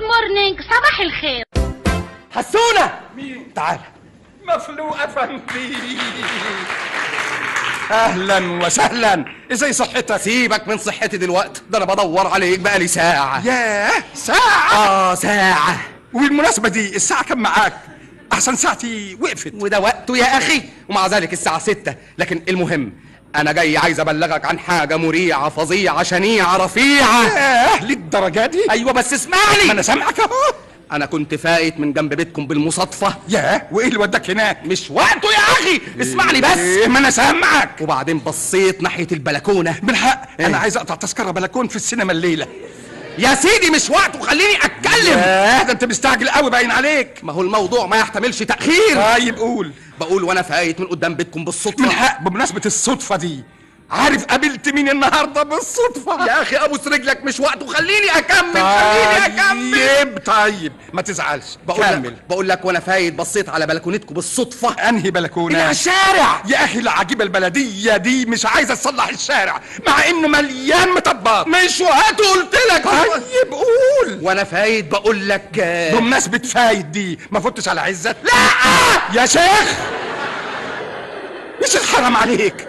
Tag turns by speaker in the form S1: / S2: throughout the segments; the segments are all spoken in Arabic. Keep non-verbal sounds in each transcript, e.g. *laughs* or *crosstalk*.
S1: خارج صباح الخير
S2: حسونة
S3: مين؟
S2: تعال
S3: مفلوق افندي
S2: اهلا وسهلا ازاي صحتك سيبك من صحتي دلوقتي ده انا بدور عليك بقالي ساعة
S3: ياه ساعة
S2: اه ساعة
S3: والمناسبة دي الساعة كام معاك؟ أحسن ساعتي وقفت
S2: وده وقته يا اخي ومع ذلك الساعة ستة لكن المهم انا جاي عايز ابلغك عن حاجة مريعة فظيعة شنيعة
S3: *laughs*
S2: رفيعة
S3: ياه للدرجة دي؟
S2: ايوه بس اسمعني
S3: ما أنا سامعك أهو
S2: انا كنت فايت من جنب بيتكم بالمصادفة
S3: ياه وإيه اللي وداك هناك؟
S2: مش وقته يا اخي اسمعني
S3: إيه
S2: يعني بس
S3: ما أنا سامعك
S2: وبعدين بصيت ناحية البلكونة
S3: بالحق
S2: إيه؟
S3: أنا عايز أقطع تذكرة بلكون في السينما الليلة
S2: يا سيدي مش وقته خليني اتكلم
S3: ياه ده أنت مستعجل قوي باين عليك
S2: ما هو الموضوع ما يحتملش تأخير
S3: طيب قول
S2: بقول وانا فايت من قدام بيتكم بالصدفه
S3: من حق بمناسبة الصدفة دي عارف قابلت مين النهاردة بالصدفة
S2: يا اخي ابوس رجلك مش وقته خليني اكمل خليني اكمل
S3: طيب طيب ما تزعلش
S2: بقول
S3: كمل
S2: لك بقول لك وانا فايت بصيت على بلكونتكم بالصدفه
S3: انهي بلكونه
S2: اللي على الشارع
S3: يا اخي العجيبه البلديه دي مش عايزه تصلح الشارع مع انه مليان مطبات
S2: مش وقته قلت لك
S3: طيب قول
S2: وانا فايت بقول لك آه،
S3: بمناسبه فايد دي ما فتش على عزت
S2: لا آه!
S3: يا شيخ مش حرام عليك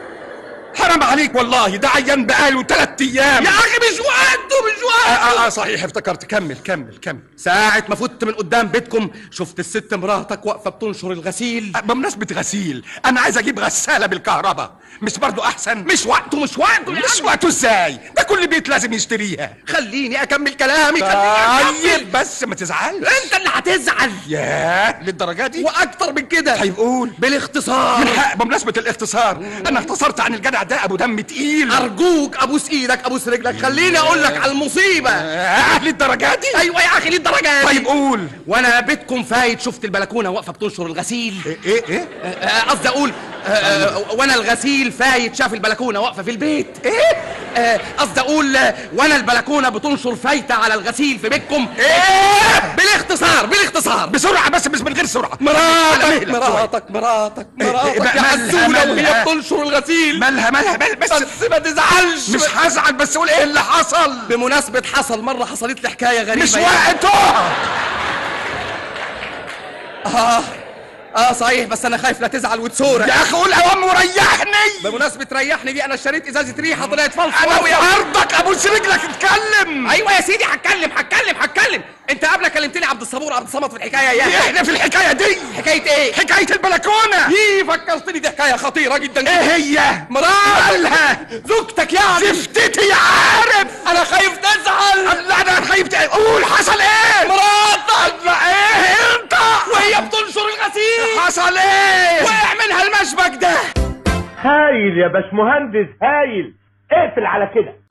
S3: حرام عليك والله ده عيان بقاله ثلاث ايام
S2: يا اخي مش وقته مش
S3: آه,
S2: وقته
S3: آه, اه صحيح افتكرت كمل كمل كمل
S2: ساعة ما فت من قدام بيتكم شفت الست مراتك واقفة بتنشر الغسيل
S3: آه، بمناسبه غسيل انا عايز اجيب غساله بالكهرباء مش برضو احسن
S2: مش وقته مش وقته يا
S3: مش
S2: عم.
S3: وقته ازاي ده كل بيت لازم يشتريها
S2: خليني اكمل كلامي خليني اكمل
S3: طيب بس ما تزعلش
S2: انت اللي هتزعل
S3: ياه للدرجه دي
S2: واكتر من كده
S3: طيب قول من
S2: بالاختصار
S3: حق بمناسبة الاختصار أنا اختصرت عن الجدع ده أبو دم تقيل
S2: ارجوك ابوس ايدك ابوس رجلك خليني اقول لك على المصيبه
S3: آه، للدرجة دي
S2: ايوه يا اخي ليه الدرجه دي؟
S3: طيب قول
S2: وانا بيتكم فايت شفت البلكونه واقفه بتنشر الغسيل
S3: إيه إيه إيه
S2: آه، آه، قصدي اقول آه، آه، وانا الغسيل فايت شاف البلكونه واقفه في البيت
S3: إيه
S2: آه، قصدي اقول آه، وانا البلكونه بتنشر فايته على الغسيل في بيتكم
S3: إيه
S2: بالاختصار بالاختصار
S3: بسرعة بس مش من غير سرعة
S2: مراتك
S3: مراتك
S2: مراتك مراتك مراتك يا
S3: مالها-
S2: حزوله وهي
S3: مالها؟
S2: بتنشر الغسيل
S3: مالها مالها مالها بس
S2: بس ما تزعلش
S3: مش هزعل بس قول إيه اللي
S2: أيوة،
S3: حصل
S2: بمناسبة حصل مرة حصلت لي حكاية غريبة
S3: مش
S2: يعني.
S3: وقته
S2: اه اه صحيح بس انا خايف لا تزعل وتسورك
S3: يا أخي قول أوام وريحني
S2: بمناسبة ريحني دي انا اشتريت ازازة ريحة طلعت فلفل
S3: أنا
S2: قوي أوي.
S3: وأرضك أبوس رجلك اتكلم
S2: ايوه يا سيدي هتكلم هتكلم هتكلم انت قبل كلمتني عبد الصبور عبد الصمد في الحكاية
S3: إيه
S2: يا
S3: إحنا في الحكاية دي إيه.
S2: حكاية إيه ايه؟
S3: حكاية البلكونة
S2: يي فكرتني دي حكاية خطيرة جدا
S3: إيه
S2: جدا
S3: هي
S2: مراتك
S3: مالها
S2: زوجتك يعني
S3: زفتتي يا عارف
S2: انا خايف تزعل
S3: لا انا خايف قول حصل ايه
S2: مراتك
S3: لا ايه انت
S2: وهي بتنشر الغسيل
S3: حصل ايه
S2: وقع منها المشبك ده
S4: هايل يا باشمهندس هايل اقفل على كده